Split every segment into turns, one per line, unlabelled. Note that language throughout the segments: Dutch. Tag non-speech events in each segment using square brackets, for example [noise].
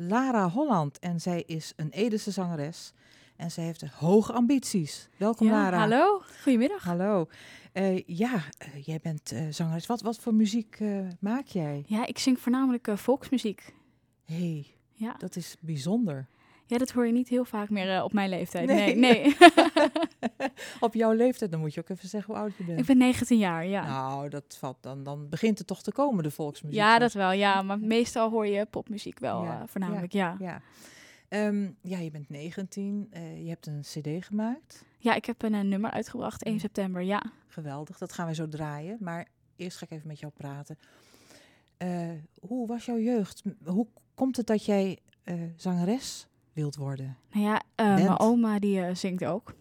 Lara Holland. En zij is een Edese zangeres. En zij heeft hoge ambities. Welkom,
Ja,
Lara.
Hallo, goedemiddag.
Hallo. Eh, ja, eh, jij bent eh, zangeres. Wat, wat voor muziek eh, maak jij?
Ja, ik zing voornamelijk eh, volksmuziek.
hey,
Ja.
dat is bijzonder.
ja, dat hoor je niet heel vaak meer eh, op mijn leeftijd.
Nee.
Nee, nee.
Op jouw leeftijd, dan moet je ook even zeggen hoe oud je bent.
ik ben 19 jaar, ja.
Nou, dat valt dan, dan begint het toch te komen, de volksmuziek.
ja, dat wel, ja. Maar meestal hoor je popmuziek wel
Ja,
eh, voornamelijk, ja. ja.
Ja. Ehm, ja, je bent 19, eh, je hebt een cd gemaakt.
ik heb een eh, nummer uitgebracht, 1 september, ja.
Geweldig, dat gaan wij zo draaien. Maar eerst ga ik even met jou praten. Eh, hoe was jouw jeugd? M- Hoe k- komt het dat jij eh, zangeres wilt worden?
Nou ja, eh,
Bent.
mijn oma die eh, zingt ook.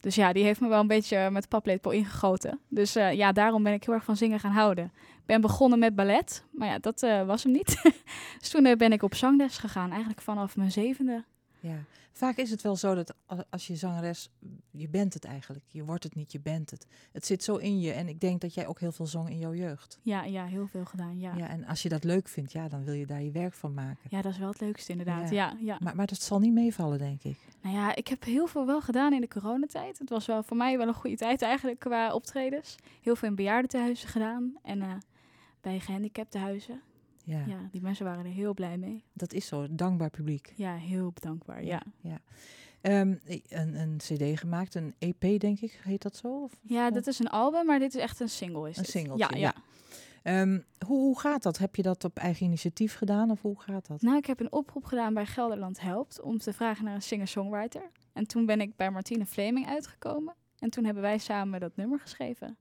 Dus ja, die heeft me wel een beetje eh, met paplepel ingegoten. Dus eh, ja, daarom ben ik heel erg van zingen gaan houden. Ik ben begonnen met ballet, maar ja, dat eh, was hem niet. [laughs] dus toen eh, ben ik op zangles gegaan, eigenlijk vanaf mijn zevende.
Ja. Vaak is het wel zo dat a- als je zangeres, je bent het eigenlijk. Je wordt het niet, je bent het. Het zit zo in je en ik denk dat jij ook heel veel zong in jouw jeugd.
Ja, ja, heel veel gedaan, ja.
Ja.
ja.
en als je dat leuk vindt, ja, dan wil je daar je werk van maken.
dat is wel het leukste inderdaad,
Ja.
ja. ja,
Maar, maar dat zal niet meevallen, denk ik.
Nou ja, ik heb heel veel wel gedaan in de coronatijd. Het was wel voor mij wel een goede tijd eigenlijk qua optredens. Heel veel in bejaardentehuizen gedaan en eh, bij gehandicaptenhuizen.
Ja,
Ja. die mensen waren er heel blij mee.
dat is zo. een Dankbaar publiek.
Ja, heel bedankbaar, ja.
Ehm, i- een, een cd gemaakt, een EP denk ik, heet dat zo? Of?
Ja, dat is een album, maar dit is echt een single. Is
Een
dit.
singeltje,
Ja,
ja.
ja.
Ehm, hoe, hoe gaat dat? Heb je dat op eigen initiatief gedaan of hoe gaat dat?
Nou, ik heb een oproep gedaan bij Gelderland Helpt om te vragen naar een singer-songwriter. En toen ben ik bij Martine Fleming uitgekomen. En toen hebben wij samen dat nummer geschreven.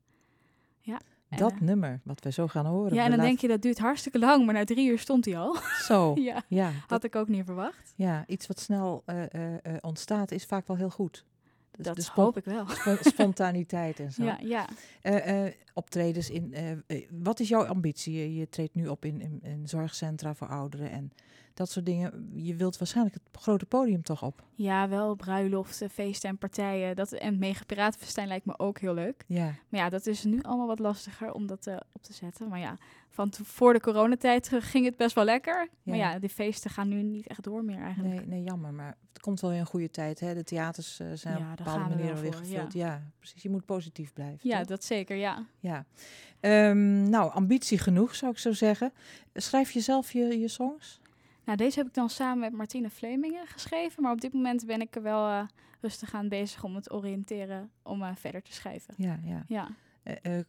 en,
dat
eh,
nummer, wat we zo gaan horen.
ja, en
we
dan denk
laten-
je Oh, dat duurt hartstikke lang, maar na drie uur stond hij al.
[laughs] Zo,
[laughs] ja,
ja, dat-
had ik ook niet verwacht.
ja, iets wat snel eh, eh, eh, ontstaat is vaak wel heel goed. Dus
Dat
de spon-
hoop ik [laughs] wel.
spo- [laughs] spontaniteit en zo.
Ja, ja.
Eh, eh, optredens in. eh, eh, wat is jouw ambitie? Je- Je treedt nu op in, in, in zorgcentra voor ouderen en dat soort dingen. Je wilt waarschijnlijk het grote podium toch op.
ja, wel bruiloften, feesten en partijen. Dat, en mega piratenfestijn lijkt me ook heel leuk.
Ja.
Maar ja, dat is nu allemaal wat lastiger om dat eh, op te zetten. Maar ja, van te- voor de coronatijd eh, ging het best wel lekker. Maar
Ja.
ja, die feesten gaan nu niet echt door meer eigenlijk.
Nee, nee, jammer. Maar het komt wel weer een goede tijd. Hè? De theaters eh, zijn
Ja,
op een
daar
bepaalde
gaan we
manier
wel
alweer
voor,
gevuld. Ja. precies. Je moet positief blijven.
Ja,
toch?
dat zeker, ja.
ja. Ehm, nou, ambitie genoeg, zou ik zo zeggen. Schrijf je zelf je, je songs?
Nou, deze heb ik dan samen met Martine Vlemingen geschreven. Maar op dit moment ben ik er wel eh, rustig aan bezig om het oriënteren om eh, verder te schrijven.
Ja, ja.
Ja.
Eh, eh,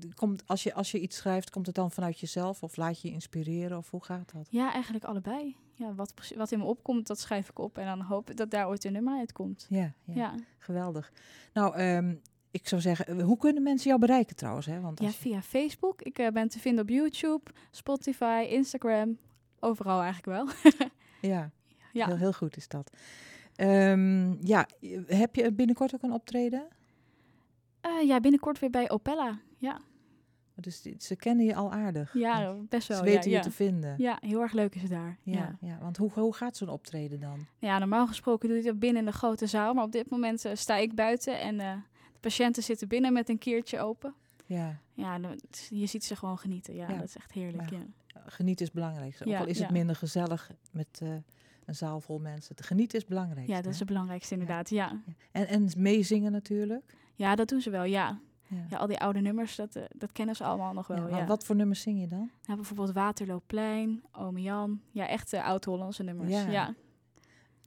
d- komt, als, je, als je iets schrijft, komt het dan vanuit jezelf? Of laat je je inspireren? Of hoe gaat dat?
ja, eigenlijk allebei. Ja, wat, precie- wat in me opkomt, dat schrijf ik op. En dan hoop ik dat daar ooit een nummer uitkomt.
Ja, ja,
Ja,
geweldig. Nou, ehm, ik zou zeggen, eh, hoe kunnen mensen jou bereiken trouwens? Hè? Want
ja
als je-
via Facebook. Ik eh, ben te vinden op YouTube, Spotify, Instagram. Overal eigenlijk wel. [laughs]
ja,
ja.
Heel, heel goed is dat. Ehm, ja, eh, heb je binnenkort ook een optreden?
Eh, ja, binnenkort weer bij Opella. Ja,
Dus die- ze kennen je al aardig.
ja
Want
best
ze
wel.
weten
ja,
je te
ja.
vinden. Ja,
ja, heel erg leuk is het daar. Ja.
ja.
Ja.
want hoe, hoe gaat zo'n optreden dan?
normaal gesproken doe je dat binnen in de grote zaal. Maar op dit moment eh, sta ik buiten en eh, de patiënten zitten binnen met een keertje open.
Ja,
Ja, dan- je ziet ze gewoon genieten. Ja,
Ja.
dat is echt heerlijk.
Maar
Ja.
geniet is belangrijk. Ook
Ja,
al is het
ja.
minder gezellig met eh, een zaal vol mensen. Geniet is belangrijk.
ja, dat is het belangrijkste inderdaad. Ja,
en, en meezingen natuurlijk.
ja dat doen ze wel, ja.
Ja.
Ja, al die oude nummers, dat, eh, dat kennen ze allemaal nog
Ja,
wel. Ja,
want Wat voor nummers zing je dan?
Nou, bijvoorbeeld Waterloopplein, Ome Jan. Ja, echt eh, oud-Hollandse nummers.
Ja.
Ja. Ja.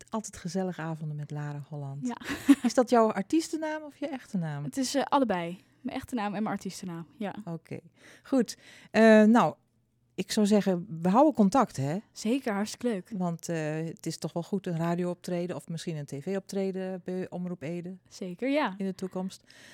Altijd gezellige avonden met Lara Holland.
Ja.
[laughs] is dat jouw artiestennaam of je echte naam?
Het is eh, allebei. Mijn echte naam en mijn artiestennaam. Ja,
Oké, goed. Eh, nou, ik zou zeggen, we houden contact hè.
zeker. Hartstikke leuk.
Want eh, het is toch wel goed een radio-optreden of misschien een tv-optreden bij Omroep Ede
Zeker, ja.
in de toekomst.